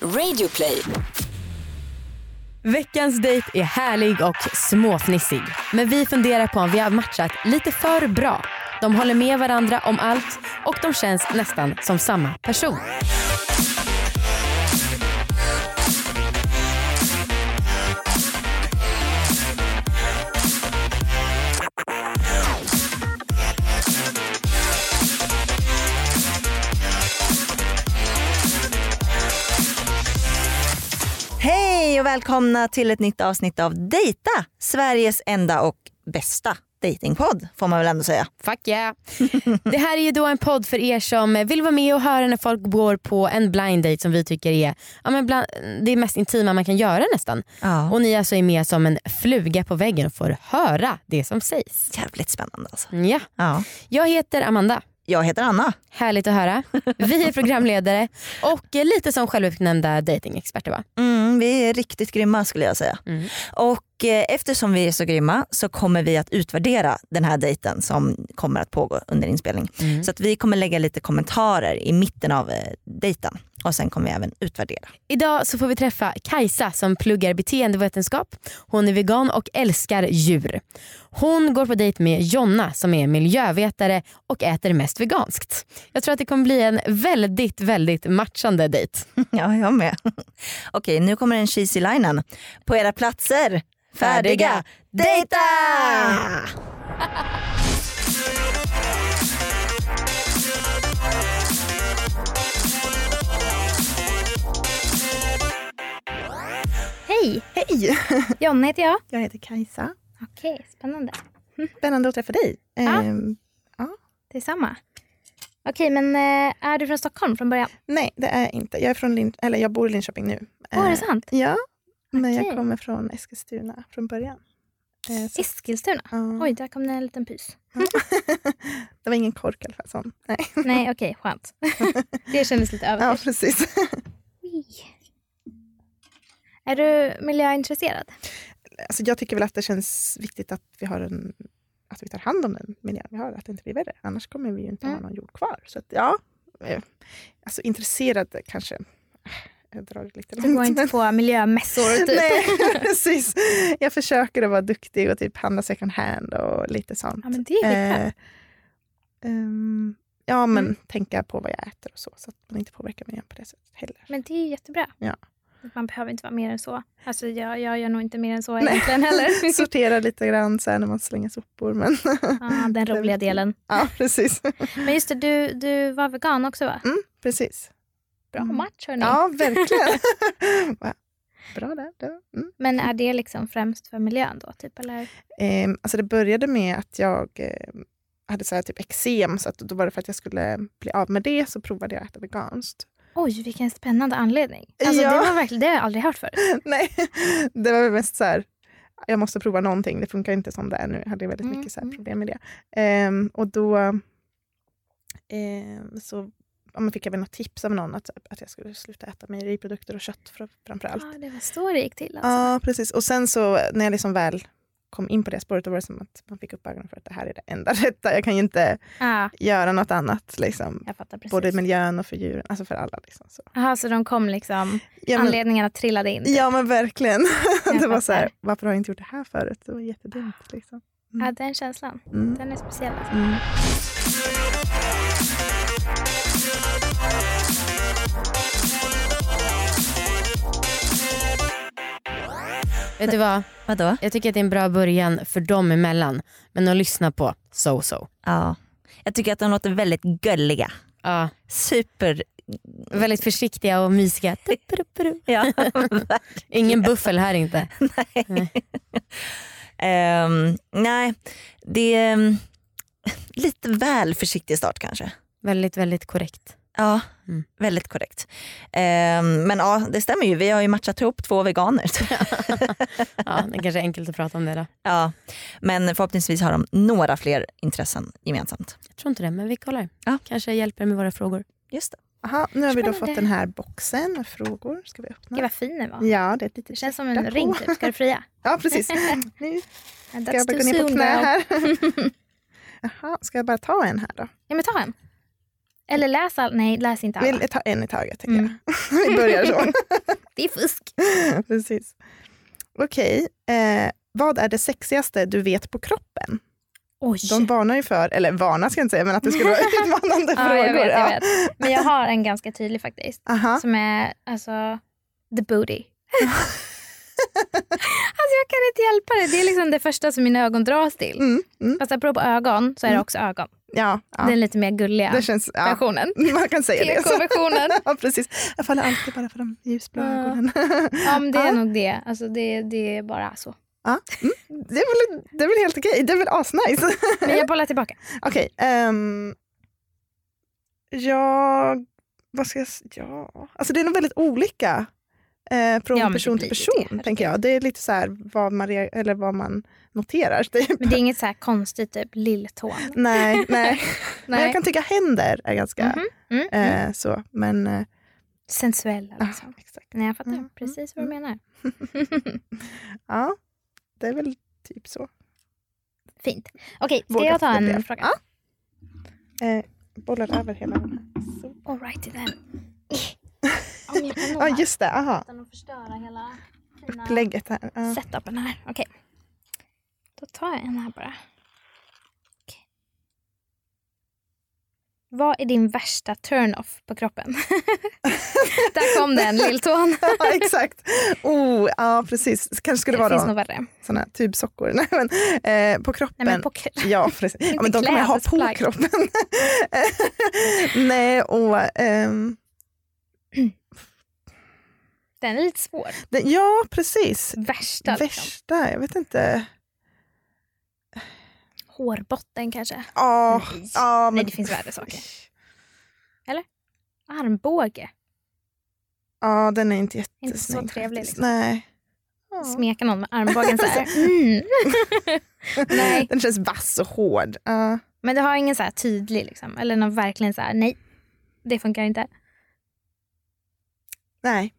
Radioplay. Veckans dejt är härlig och småfnissig. Men vi funderar på om vi har matchat lite för bra. De håller med varandra om allt och de känns nästan som samma person. Hej och välkomna till ett nytt avsnitt av Dejta, Sveriges enda och bästa datingpodd får man väl ändå säga. Fuck yeah. Det här är ju då en podd för er som vill vara med och höra när folk går på en blind date som vi tycker är ja, men bland, det mest intima man kan göra nästan. Ja. Och ni alltså är med som en fluga på väggen och får höra det som sägs. Jävligt spännande alltså. Ja. Ja. Jag heter Amanda. Jag heter Anna. Härligt att höra. Vi är programledare och eh, lite som självutnämnda datingexperter va? Mm, vi är riktigt grymma skulle jag säga. Mm. Och eh, eftersom vi är så grymma så kommer vi att utvärdera den här dejten som kommer att pågå under inspelning. Så att vi kommer lägga lite kommentarer i mitten av eh, dejten och sen kommer vi även utvärdera. Idag så får vi träffa Kajsa som pluggar beteendevetenskap. Hon är vegan och älskar djur. Hon går på dejt med Jonna som är miljövetare och äter mest veganskt. Jag tror att det kommer bli en väldigt, väldigt matchande dejt. Ja, jag med. Okej, nu kommer den cheesy linen. På era platser, färdiga, dejta! Hej! Hej! Jonna heter jag. Jag heter Kajsa. Okej, spännande. Spännande att träffa dig. Ja. Ehm, Detsamma. Okej, men eh, är du från Stockholm från början? nej, det är jag inte. Jag, är från Lin- eller jag bor i Linköping nu. Åh, är det Ehm, sant? Ja, men jag Okej. kommer från Eskilstuna från början. Ehm, så- Eskilstuna? ja. Oj, där kom det en liten pys. det var ingen kork i alla fall. Sån. Nej. Nej, okej, skönt. det kändes lite Ja, övertygande. precis. Är du miljöintresserad? Alltså, jag tycker väl att det känns viktigt att vi, har en, att vi tar hand om den miljö vi har, att det inte blir värre. Annars kommer vi ju inte Mm. ha någon jord kvar. Så att, ja, eh, alltså intresserad kanske. Jag drar det lite Du går långt, inte på miljömässor typ? Nej, precis. Jag försöker att vara duktig och typ handla second hand och lite sånt. Ja, men det är Mm. skitbra. Eh, ehm, ja, men tänka på vad jag äter och så, så att man inte påverkar miljön på det sättet heller. Men det är ju jättebra. Ja. Man behöver inte vara mer än så. Alltså, jag, jag gör nog inte mer än så egentligen heller. Sortera lite grann så här när man slänger sopor. Men ah, den roliga delen. ja, precis. Men just det, du, du var vegan också va? Mm, precis. Bra match hörni. Ja, verkligen. Va? Bra där. där. Mm. Men är det liksom främst för miljön då? Typ, eller? Ehm, alltså det började med att jag ehm, hade så här typ eksem, så att då var det för att jag skulle bli av med det, så provade jag att äta veganskt. Oj, vilken spännande anledning. Alltså, Ja. det, var verkligen, det har jag aldrig hört förut. Nej, det var väl mest så här, jag måste prova någonting, det funkar inte som det är nu. Jag hade väldigt Mm, mycket så här mm. problem med det. Ehm, och då ehm, så ja, men fick jag väl något tips av någon att, att jag skulle sluta äta mejeriprodukter och kött fra- framför allt. Ja, det var så det gick till alltså. Ja, precis. Och sen så när jag liksom väl kom in på det spåret, då var det som att man fick upp ögonen för att det här är det enda rätta. Jag kan ju inte Ja, göra något annat. Liksom. jag fattar precis. Både miljön och för djuren, alltså för alla. Liksom, så. Aha, så de kom liksom, Ja, men, anledningarna trillade in. ja men verkligen. Jag det var så här, fattar. varför har jag inte gjort det här förut? Det var jättedumt. Liksom. Ja, den känslan. Mm. Den är speciell. Alltså. Vet du vad? Vadå? Jag tycker att det är en bra början för dem emellan. Men att lyssna på, so so. Ja. Jag tycker att de låter väldigt gulliga. Ja, Super... väldigt försiktiga och mysiga. Ja. Ingen buffel här inte. Ehm, nej, det är ehm, lite väl försiktig start kanske. Väldigt, väldigt korrekt. Ja, Mm. väldigt korrekt. Ehm, men ja, det stämmer ju. Vi har ju matchat ihop två veganer. Ja, det kanske är enkelt att prata om det då. ja. Men förhoppningsvis har de några fler intressen gemensamt. Jag tror inte det, men vi kollar. Ja. Kanske hjälper med våra frågor. Just det. Aha, nu har vi då Spännande. fått den här boxen med frågor. Ska vi öppna? Gud vad fin den var. Ja, det är ett Det litet känns som hjärta en på. ring typ. Ska du fria? Ja, precis. Nu That's ska jag bara gå ner på knä här. Aha, ska jag bara ta en här då? Ja, men ta en. Eller läs all... Nej, läs inte alla. Vi tar en i taget tänker Mm. jag. Vi börjar så. Det är fusk. Precis. Okej, eh, vad är det sexigaste du vet på kroppen? Oj. De varnar ju för, eller varnar ska jag inte säga, men att det skulle vara utmanande ja, frågor. jag vet, jag Ja. vet. Men jag har en ganska tydlig faktiskt. Aha. Som är alltså the booty. alltså jag kan inte hjälpa det. Det är liksom det första som mina ögon dras till. Mm, mm, Fast apropå ögon så är det Mm. också ögon. ja, ja. Den lite mer gulliga Det känns, ja. versionen. Man kan säga det. så. TK-versionen. Ja, precis. Jag faller alltid bara för de ljusblå Ja. ögonen. Ja, men det är Ja. nog det. Alltså det, det är bara så. Det är väl, det är väl helt okej, det är väl asnice. Men jag bollar tillbaka. Okej. ehm, jag... Vad ska jag s- Ja. Alltså det är nog väldigt olika eh, från Ja, men det person blir till ju person. det, tänker jag. Det är lite så här vad man, rea- eller vad man noterar. Typ. Men det är inget så här konstigt typ lilltån. Nej, nej. Men jag Nej. kan tycka händer är ganska Mhm, mm, mm. eh, så. Men, eh, Sensuella ah, liksom. exakt. Nej, jag fattar Mm, precis vad du menar. Ja, det är väl typ så. Fint. Okej, ska Vågat jag ta en fundera. fråga? Ja. Bollar Eh, över hela den här. Så. All righty then. Om jag kan nå Ja, just det. Aha. utan att förstöra hela fina Upplägget här. Ja. setupen här. Okej. Då tar jag en här bara. Okej. Vad är din värsta turn-off på kroppen? Där kom den, lilltån. Ja, exakt. Oh, ja, precis. Kanske skulle Det, det vara finns då- nog värre. Nej, såna här tubsockor. Nej, men, eh, på kroppen. men på kr- Ja, precis. Ja, men de kan man ju ha på klädesplagg. kroppen. Nej, och... ehm, den är lite svår. det, ja, precis. Värsta, Liksom. Värsta, jag vet inte. Hårbotten kanske. Ja, Nej. ja, Mm, Nej, men... det finns värre saker. Armbåge. Ja, den är inte jättesnygg. Inte så trevlig, faktiskt. liksom. Nej. Ja. Smeka någon med armbågen så här. Mm. Nej. Den känns vass och hård. Ja. Men du har ingen så här tydlig liksom, eller någon verkligen så här, nej, det funkar inte. Eh, nej,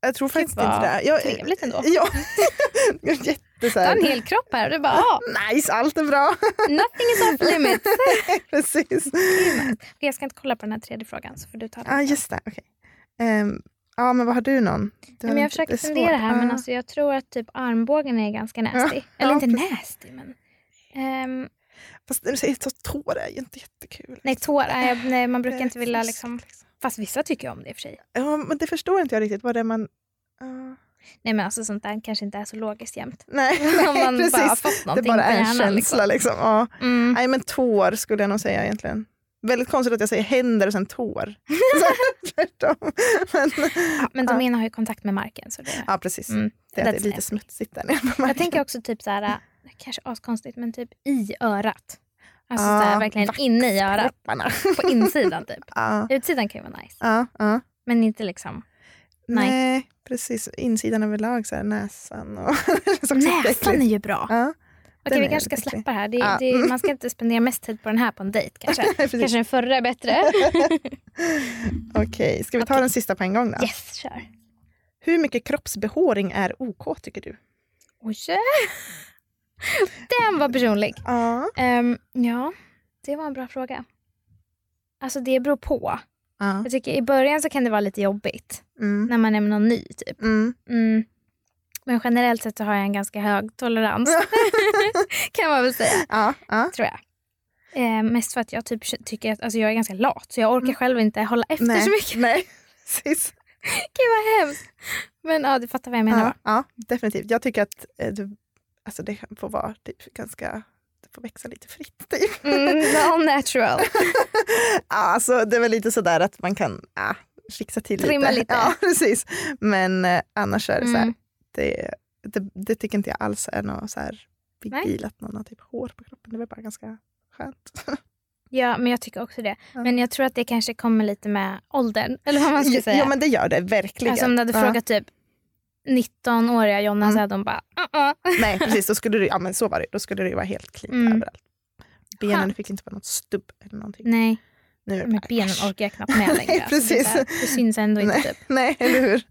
jag tror faktiskt vad inte det. Jag, Trevligt ändå. Ja, jätte så Du har här. en hel kropp här och du bara, ah, Nice, allt är bra. nothing is off limit. precis. Okej, jag ska inte kolla på den här tredje frågan så får du ta den. Ja, just det. Okej. Ehm, ja, men vad har du någon? Du Nej, har men en- jag försöker det är fundera svårt. här men Ja. alltså, jag tror att typ armbågen är ganska nasty. Eller ja, inte precis. nasty men. ehm, Fast det säger att tår är ju inte jättekul. nej tår, nej, nej, man brukar Det är inte vilja fusk, liksom. Fast vissa tycker ju om det i och för sig. Ja, men det förstår inte jag riktigt. Vad det är man... Ja. Nej men alltså sånt där kanske inte är så logiskt jämt. nej, Om nej man precis. bara har fått det någonting på bara är en hjärnan. liksom. känsla liksom. Ja. Mm. Nej, men tår skulle jag nog säga egentligen. Väldigt konstigt att jag säger händer och sen tår. Så, Tvärtom. Men, Ja, men Ja. de ena har ju kontakt med marken. Så det... Ah, ja, precis. Mm, Det är, att det är that's lite nasty. smutsigt där nere. på Jag marken. tänker också typ så här, äh, kanske askonstigt, men typ i örat. Alltså Ja, så här, verkligen inne i örat, Kropparna. på insidan typ. Ja, Utsidan kan ju vara nice, ja, ja. men inte liksom. Nej. Nej. precis. Insidan överlag, så här, näsan och... som också är Näsan äckligt. är ju bra. Ja, Okej, vi är kanske ska äcklig. släppa det här. Det, Ja. det, man ska inte spendera mest tid på den här på en dejt kanske. precis. Kanske den förra är bättre. Okej, ska vi ta Okej. den sista på en gång då? Yes, kör. Hur mycket kroppsbehåring är OK tycker du? Oj. Oh, Den var personlig. Ja. Ehm, ja, det var en bra fråga. Alltså det beror på. ja. Jag tycker i början så kan det vara lite jobbigt. Mm. När man är med någon ny typ. Mm. Mm. Men generellt sett så har jag en ganska hög tolerans. kan man väl säga, ja, ja. tror jag. Eh, mest för att jag typ tycker att alltså jag är ganska lat så jag orkar själv inte hålla efter Mm. Nej. så mycket. Nej, precis. Gud vad hemskt. Men ja, du fattar vad jag menar. Ja, va? ja, definitivt. Jag tycker att eh, du, alltså det får vara typ ganska det får växa lite fritt. Typ. Mm, all natural. Alltså, det är väl lite sådär att man kan ah, fixa till Trimma lite. lite. Ja, precis. Men eh, annars är det så Mm. här, det, det, det tycker inte jag alls är något så här big Nej. deal att någon har typ hår på kroppen. Det är väl bara ganska skönt. Ja, men jag tycker också det. Ja. Men jag tror att det kanske kommer lite med åldern. Eller vad man ska säga. Ja men det gör det verkligen. alltså om du hade Ja. frågat typ 19-åriga Jonna så Mm. hade hon bara uh-uh. Nej precis, då skulle det, ja, men så var det. Då skulle det ju vara helt klint Mm. överallt. Benen Skönt. fick inte vara något stubb eller någonting. Nej, Nu är det men bara, benen "Äsch." orkar jag knappt med längre. Nej, Alltså, det, är så här, det syns ändå inte Nej. typ. Nej, eller hur?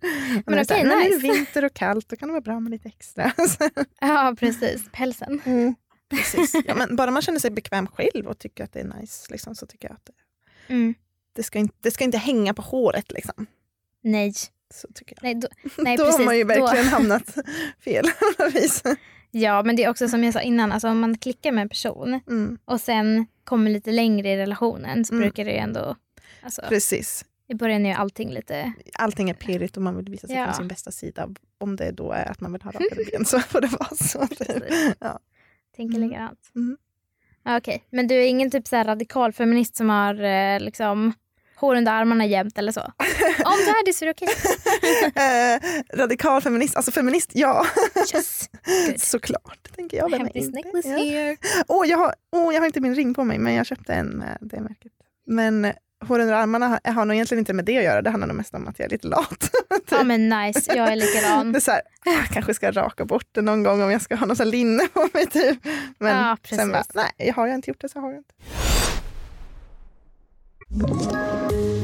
Men det är så här, okej, Nu är nice. det vinter och kallt, då kan det vara bra med lite extra. Ja, precis. Pälsen. precis. Ja, men bara man känner sig bekväm själv och tycker att det är nice liksom, så tycker jag att det Mm. det ska inte, det ska inte hänga på håret liksom. Nej, Så tycker jag. nej, då, nej då precis. har man ju då- verkligen hamnat fel på något vis. Ja, men det är också som jag sa innan, alltså om man klickar med en person Mm, och sen kommer lite längre i relationen så Mm. brukar det ju ändå... Alltså, precis. I början är ju allting lite... Allting är pirrigt och man vill visa sig Ja. från sin bästa sida. Om det då är att man vill ha rakare ben så får det vara så. Typ. Ja. Tänker Mm. likadant. Mm. Ja, Okej, men du är ingen typ så här radikal feminist som har eh, liksom hår under armarna jämt eller så? Om du är det så är det okej. Eh, radikal feminist, alltså feminist, ja Yes! Good. såklart. Tänker jag. Vem är Hampy's inte? necklace Ja. here. Åh, jag, har, åh, jag har inte min ring på mig men jag köpte en med det märket. Men eh, hår under armarna har, har nog egentligen inte med det att göra. Det handlar nog mest om att jag är lite lat. Ja men nice, jag är likadan. Det är så här, "Ah, jag kanske ska raka bort det någon gång om jag ska ha någon sån här linne på mig. Typ. Men Ja, precis. sen bara, nej, har jag inte gjort det så har jag inte.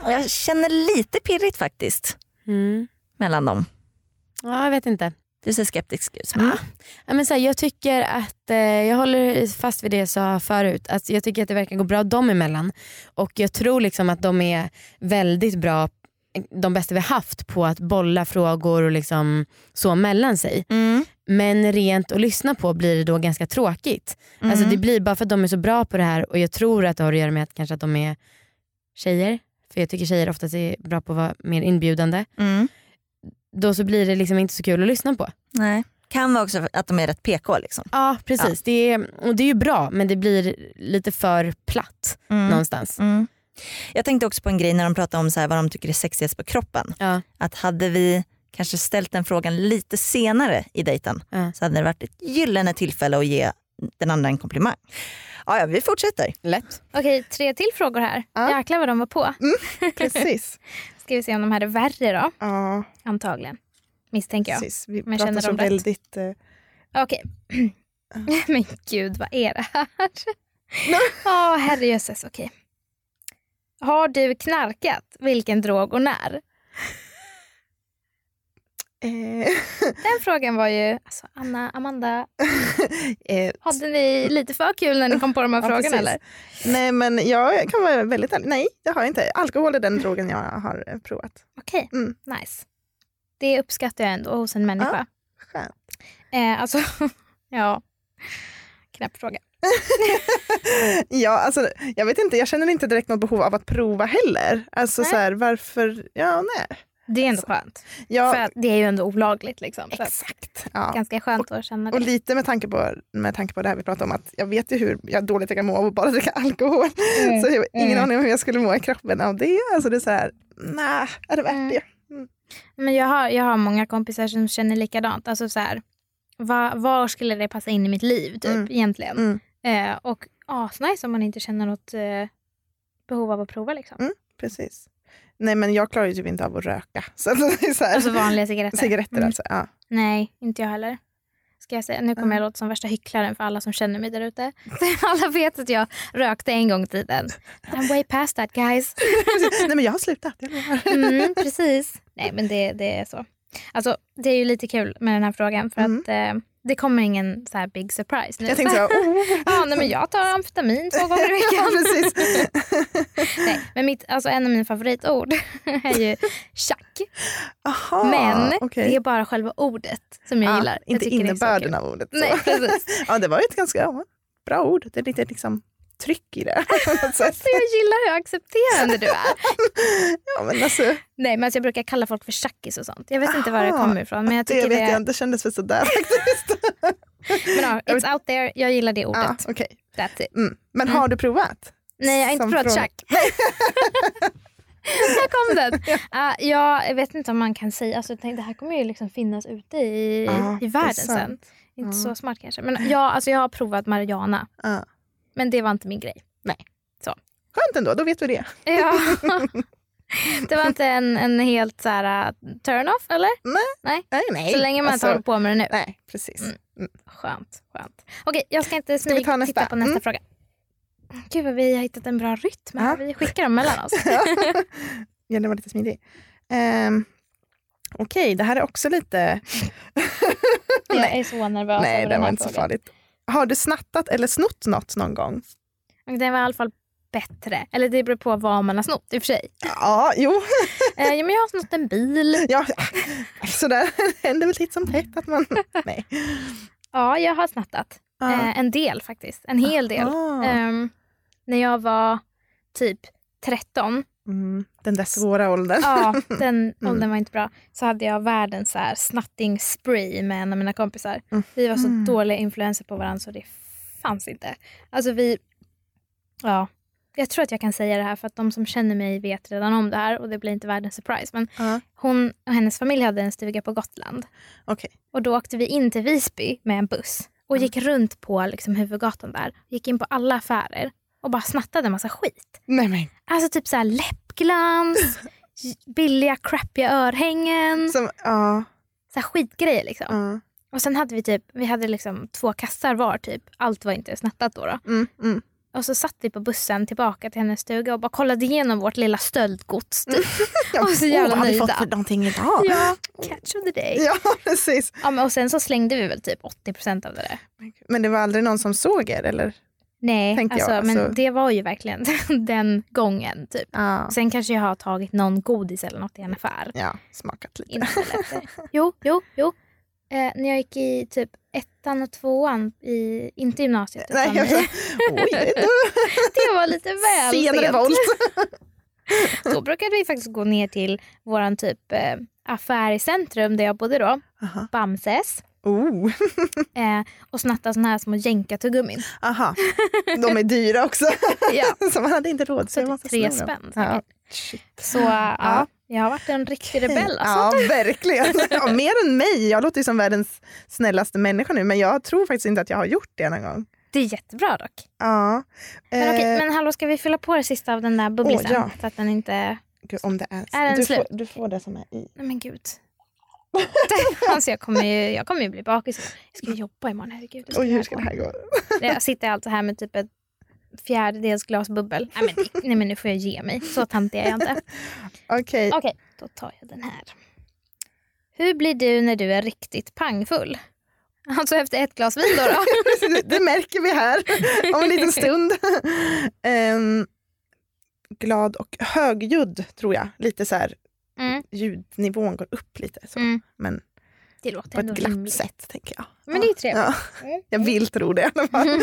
Och jag känner lite pirrigt faktiskt Mm. mellan dem. Ja, jag vet inte. Du ser skeptisk ut. Ja. Ja, men så här, jag tycker att, eh, jag håller fast vid det jag sa förut, att jag tycker att det verkar gå bra dem emellan och jag tror liksom att de är väldigt bra, de bästa vi har haft på att bolla frågor och liksom så mellan sig. Mm. Men rent att lyssna på blir det då ganska tråkigt. Mm. Alltså det blir bara för att de är så bra på det här och jag tror att det har att göra med att kanske att de är tjejer, för jag tycker tjejer oftast är bra på att vara mer inbjudande. mm. Då så blir det liksom inte så kul att lyssna på. Nej. Kan vara också att de är rätt PK liksom. Ja precis, Det, är, och det är ju bra men det blir lite för platt Mm. någonstans. Mm. Jag tänkte också på en grej när de pratade om så här, vad de tycker är sexigast på kroppen. Ja. Att hade vi kanske ställt den frågan lite senare i dejten Ja. så hade det varit ett gyllene tillfälle att ge den andra en komplimang. Ja, ja vi fortsätter. Lätt. Okej, tre till frågor här. Ja. Mm. Jäklar vad de var på. Precis. Ska vi se om de här är värre då? Ja, Antagligen. Misstänker jag. precis. Vi Men pratar känner så de rätt? väldigt... Eh, Okej. Ah. Men gud, vad är det här? Ja, herrejösses. Okej. Har du knarkat? Vilken drog och när? eh, Den frågan var ju... Alltså, Anna, Amanda, eh, hade ni lite för kul när ni kom på de här Ja, frågorna? precis. Eller? nej, men jag kan vara väldigt ärlig. Nej, det har jag inte. Alkohol är den drogen jag har eh, provat. Okej, Mm. nice. Det uppskattar jag ändå hos en människa. Skönt. Ah. Eh, alltså, ja. Knäpp fråga. Ja, alltså, jag vet inte, jag känner inte direkt något behov av att prova heller. Alltså Nej. så här, varför? Ja, nej. Det är ändå skönt. För Jag, att det är ju ändå olagligt. Liksom, så att, Alltså, exakt. Ja. ganska skönt att känna Och det. lite med tanke, på, med tanke på det här vi pratade om, att jag vet ju hur jag dåligt jag kan må av att bara dricka alkohol. Mm, Så jag har ingen mm. aning om hur jag skulle må i kroppen av det. Alltså det är så här, nej, är det Mm. värt det? Men jag har, jag har många kompisar som känner likadant. Alltså så här, va, var skulle det passa in i mitt liv typ, Mm. egentligen? Mm. Eh, och asnice om man inte känner något eh, behov av att prova. Liksom. Mm. Precis. Nej, men jag klarar ju typ inte av att röka. Så att det är så här, Alltså vanliga cigaretter. Cigaretter Mm. alltså. Ja. Nej, inte jag heller. Ska jag säga. Nu kommer Mm. jag låta som värsta hycklaren för alla som känner mig där ute. alla vet att jag rökte en gång i tiden. I'm way past that guys. Nej men jag har slutat, jag lovar. Mm, precis. Nej, men det, det är så. Alltså, det är ju lite kul med den här frågan för Mm. att eh, det kommer ingen så här big surprise nu. Jag tänkte så, här, oh, ja, nej, men jag tar amfetamin två gånger i ja, veckan. precis. nej, men mitt, alltså, en av mina favoritord är ju tjack. Aha, Men Ah, okej. det är bara själva ordet som jag Ja, gillar. jag Inte tycker det är så innebörden kul. av ordet. Så. Nej, precis. Ja, det var ju ett ganska ja, bra ord. Det är lite liksom tryck i det. på något sätt. Så jag gillar hur accepterande du är. Ja, men alltså, Nej, men alltså, jag brukar kalla folk för tjackis och sånt. Jag vet inte var det Aha, kommer ifrån. Men jag det tycker vet det, jag inte, det kändes väl sådär faktiskt. Men, ja, Jag it's out there. Jag gillar det ordet. ja, okej. That's it. mm. Men har du provat? Nej, jag har inte Som provat fråga. tjack. Där kom den! Ah, ja, jag vet inte om man kan säga, alltså, jag tänkte, det här kommer ju liksom finnas ute i, Ja, i det är världen sant. sen. Inte Ja. så smart kanske. Men ja, alltså, jag har provat marijuana, Ja. men det var inte min grej. Skönt ändå, då vet vi det. Ja. Det var inte en, en helt så här, uh, turn-off eller? Nej, nej. alltså, Så länge man inte håller på med det nu. Nej, precis. Alltså- Mm. Skönt. skönt. Okej, jag ska inte vi smyg, ta nästa? titta på nästa Mm. fråga. Gud vad vi har hittat en bra rytm här. Ja. Vi skickar dem mellan oss. ja, det var lite smidig. Ehm, Okej, det här är också lite... Jag är så nervös nej, över det den var här inte så frågan. farligt. Har du snattat eller snott något någon gång? Och Den var i alla fall bättre. Eller det beror på vad man har snott i och för sig. Ja, jo. Eh, ja, men jag har snott en bil. Ja, sådär händer väl titt som tätt att man... Nej. Ja, jag har snattat. Ja. Eh, en del faktiskt. En hel del. Ah. Ehm, när jag var typ 13, Mm, den där svåra åldern. ja, den Mm. åldern var inte bra, så hade jag världens så här snatting spree med en av mina kompisar. Mm. Vi var så Mm. dåliga influenser på varandra så det fanns inte. Alltså vi, ja, jag tror att jag kan säga det här för att de som känner mig vet redan om det här och det blir inte världens surprise. Men Ja. hon och hennes familj hade en stuga på Gotland Okej. och då åkte vi in till Visby med en buss och gick runt på liksom, huvudgatan där. Gick in på alla affärer och bara snattade en massa skit. Nej, men Alltså typ så här läppglans, j- billiga crappiga örhängen. Så som... Ja, här skitgrejer liksom. ja. Och sen hade vi typ, vi hade liksom två kassar var typ. Allt var inte snattat då. då. Mm, mm. Och så satt vi på bussen tillbaka till hennes stuga och bara kollade igenom vårt lilla stöldgods. Typ. Och så jävla oh, har vi nöjda. fått för någonting idag? Ja, catch of the day. Ja. Ja, precis. men och sen så slängde vi väl typ 80% av det där. Men det var aldrig någon som såg er? Eller? Nej, Tänkte jag, alltså, men alltså. det var ju verkligen den gången typ. Ja. Sen kanske jag har tagit någon godis eller något i en affär. ja, smakat lite. Inte lätt. det. Jo, jo, jo. Eh, när jag gick i typ ettan och tvåan, i, inte gymnasiet, Nej, utan jag, i, oj, det var det var lite väl sen revolt. sent. Då brukade vi faktiskt gå ner till våran typ eh, affär i centrum där jag bodde då, Aha. Bamses, Oh. eh, och snatta såna här små jänkartuggummin. Aha. De är dyra också. Ja. Så man hade inte råd. Så Så jag var typ tre spänn. Ja. säkert. Så eh, ja, jag har varit en riktig rebell alltså. Ja, verkligen. Ja, mer än mig. Jag låter ju som världens snällaste människa nu, men jag tror faktiskt inte att jag har gjort det någon gång. Det är jättebra dock. Ja. Men, okej, Eh, men hallå, ska vi fylla på det sista av den där bubblisen? Åh, ja. Så att den inte... Gud, om det är, Är den du, slut? får, du får det som är i. Nej men gud. alltså, jag, kommer ju, jag kommer ju bli bakis. Jag ska ju jobba imorgon, herregud. Oj, hur ska det här gå? gå? Jag sitter alltså här med typ ett fjärdedels glas bubbel. Nej men, nej men nu får jag ge mig. Så tantig är jag inte. Okej. Okej, då tar jag den här. Hur blir du när du är riktigt pangfull? Alltså efter ett glas vin då? då? Det- det märker vi här om en liten stund. Em, glad och högljudd, tror jag. Lite så här, Mm, ljudnivån går upp lite. Så. mm. Men Det låter på ett ändå glatt rimligt. sätt, tänker jag. Men det är Mm. ju trevligt. Ja, Mm. jag vill tro det i alla fall.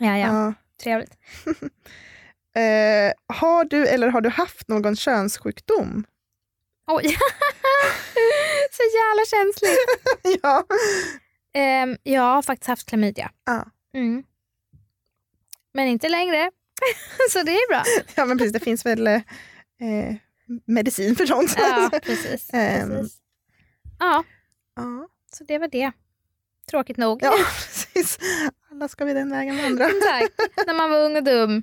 ja, ja. Ja. Trevligt. Eh, har du eller har du haft någon könssjukdom? Oj. Så jävla känsligt. ja. Ehm, jag har faktiskt haft klamydia. Ja. Mm. Men inte längre. så det är bra. ja, men precis. Det finns väl eh, eh, medicin för sånt. Ja, precis. Ehm. precis. Ja, Ja. så det var det. Tråkigt nog. ja, precis. Alla ska vi den vägen med andra. Tack. När man var ung och dum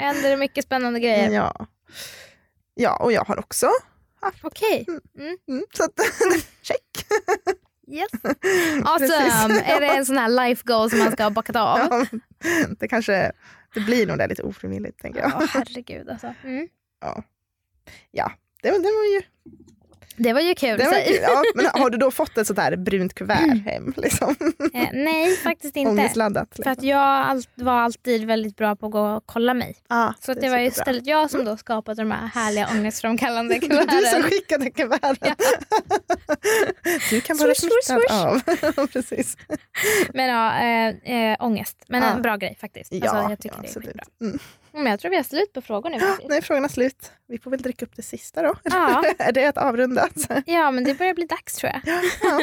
hände det mycket spännande grejer. Ja. ja, och jag har också. Okej. Mm, så att, check. Yes. Awesome. Precis. Är det en sån här life goal som man ska ha bockat av? Ja. Ja, det kanske det blir nog där lite ofrivilligt, tänker jag. herregud alltså. Mm. Det, var- det var ju, Det var ju kul. det var säg. kul. Ja, men har du då fått ett sånt här brunt Mm. kuvert hem? Liksom? Eh, nej, faktiskt inte. Ångestladdat? För Liksom. att jag all- var alltid väldigt bra på att gå och kolla mig. Ah, Så att är det var ju superbra. istället jag som då skapade de här härliga ångestframkallande Det var Du som kuverten. skickade kuverten. Du kan vara Swish, swish, smittad swish. av. Precis. Men ja, eh, eh, ångest. Men en Ja. bra grej faktiskt. Ja, alltså, jag tycker ja, det är absolut. skitbra. Mm. Men jag tror vi har slut på frågor nu faktiskt. Nu är frågorna slut. Vi får väl dricka upp det sista då. Ja, Är det ett avrundat? ja, men det börjar bli dags tror jag. Ja.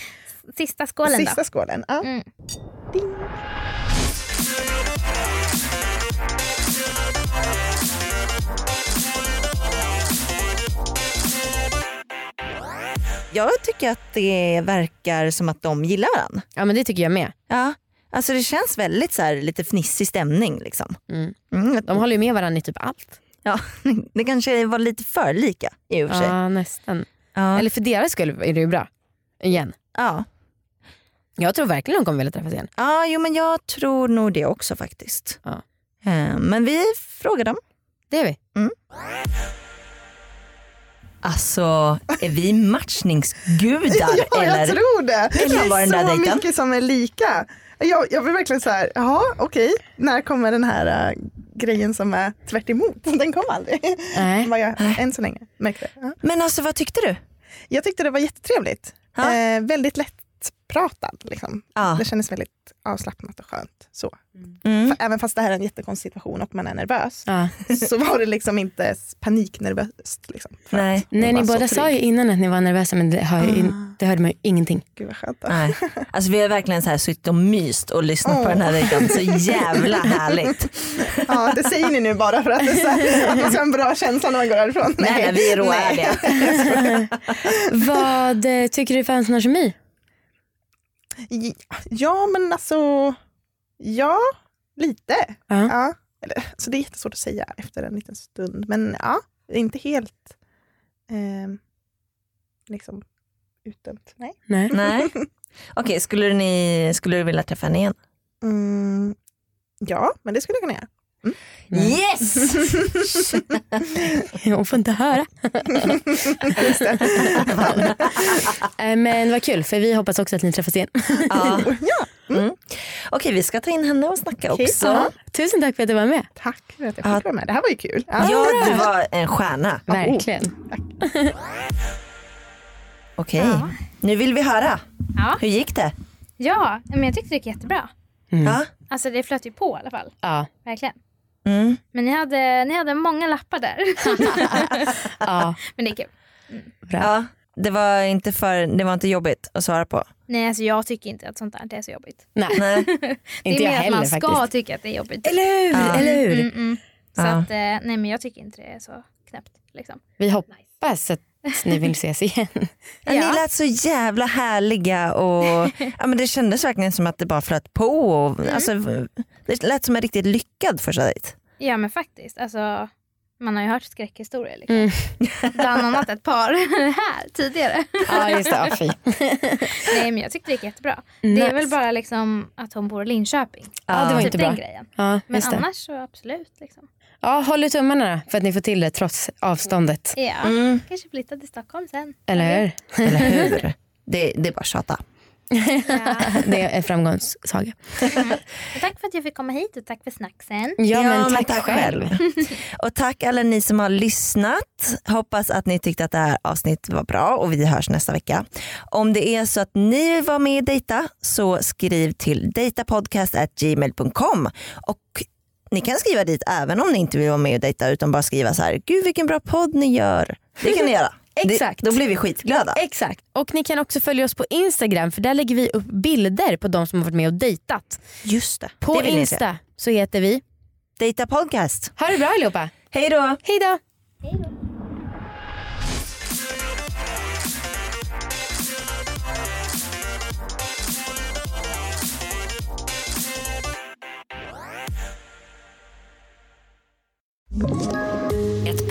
Sista skålen då. Sista skålen. Ja. Mm. Ding. jag tycker att det verkar som att de gillar varandra. Ja men det tycker jag med. Ja. Alltså det känns väldigt så här, lite fnissig stämning. Liksom. Mm. Mm, att- De håller ju med varandra i typ allt. ja, det kanske var lite för lika i och för sig. Ja nästan. Ja. Eller för deras skull är det ju bra. Igen. Ja. Jag tror verkligen de kommer vilja träffas igen. Ja, jo men jag tror nog det också faktiskt. Ja. Eh, Men vi frågar dem. Det är vi. Alltså, är vi matchningsgudar Ja, jag tror det. Det eller var den där är så dejten? mycket som är lika. Jag, jag blir verkligen så här, jaha okej, när kommer den här äh, grejen som är tvärt emot? Den kom aldrig. Nej. Vad jag än så länge märkte. Ja. Men alltså vad tyckte du? Jag tyckte det var jättetrevligt. Ja. Eh, väldigt lättpratad. Liksom. Ja. Det kändes väldigt avslappnat och skönt. Så. Mm. F- Även fast det här är en jättekonstig situation och man är nervös Ja. så var det liksom inte s- paniknervöst. Liksom, för Nej. att Nej ni jag var så båda trygg. sa ju innan att ni var nervösa men det, hör ju in, det hörde man ju ingenting. Gud vad skönt. då. Nej. Alltså vi har verkligen så här suttit och myst och lyssnat på Åh. den här dejten. Så jävla härligt. Ja, det säger ni nu bara för att, det är så här, att man ska ha en bra känsla när man går härifrån. Nej, nej, vi är Nej. råärliga. Vad eh, tycker du fanns någon kemi? Ja, men alltså, ja, lite. Ja. Ja. Eller, så det är jättesvårt att säga efter en liten stund. Men ja, inte helt ehm, liksom utdömt. Nej. Nej. Nej. Okej, skulle, ni- skulle du vilja träffa henne igen? Mm, ja, men det skulle jag kunna göra. Mm. Nej. Yes! Hon får inte höra. Just det. Eh, Men vad kul för vi hoppas också att ni träffas igen. ja. Mm. ja, Okej, vi ska ta in henne och snacka Okej. också. Ja. Tusen tack för att du var med. tack för att jag fick Ja. vara med. Det här var ju kul. Ja. Ja, du var en stjärna. Ah, oh. Verkligen. Okej, nu vill vi höra. Ja. Hur gick det? Ja, men jag tyckte det gick jättebra. Ja. Alltså det flöt ju på i alla fall. Ja. Verkligen. Mm. Men ni hade, ni hade många lappar där. ja. men det är kul. Ja, det var inte för, det var inte jobbigt att svara på. Nej, alltså jag tycker inte att sånt där är så jobbigt. Nej, Nej. inte det jag är mer att heller man faktiskt. ska tycka att det är jobbigt. Eller hur? Eller hur? Mm, mm. Så Ja. att, eh, nej men jag tycker inte det är så knäppt. Liksom. Vi hoppas att ni vill ses igen. Ja. Ni lät så jävla härliga och ja, men det kändes verkligen som att det bara flöt på. Och, alltså, det lät som en riktigt lyckad första dejt. Ja men faktiskt. Alltså, man har ju hört skräckhistorier. Liksom. Mm. Bland annat ett par här tidigare. Ja just det, ja, fy. Nej men jag tyckte det gick jättebra. Det Nice. är väl bara liksom att hon bor i Linköping. Ja, det var typ inte den bra. grejen. Ja, Men just det. annars så absolut. Liksom. Ja, håll i tummarna då, för att ni får till det trots avståndet. Ja, Mm. kanske flytta till Stockholm sen. Eller hur? Eller hur? det, det är bara att tjata. Ja. Det är en framgångssaga. Och Tack för att jag fick komma hit och tack för snacksen. Ja, men tack, själv. och tack alla ni som har lyssnat. Hoppas att ni tyckte att det här avsnittet var bra och vi hörs nästa vecka. Om det är så att ni vill vara med i Dejta så skriv till datapodcast.gmail.com och ni kan skriva dit även om ni inte vill vara med och dejta utan bara skriva så här, gud vilken bra podd ni gör. Det kan ni göra. Exakt. Det, då blir vi skitglada. Exakt. Och ni kan också följa oss på Instagram för där lägger vi upp bilder på de som har varit med och dejtat. Just det. På det vill ni se. Insta så heter vi... Dejta podcast. Ha det bra allihopa. Hej då. Hej då. Ett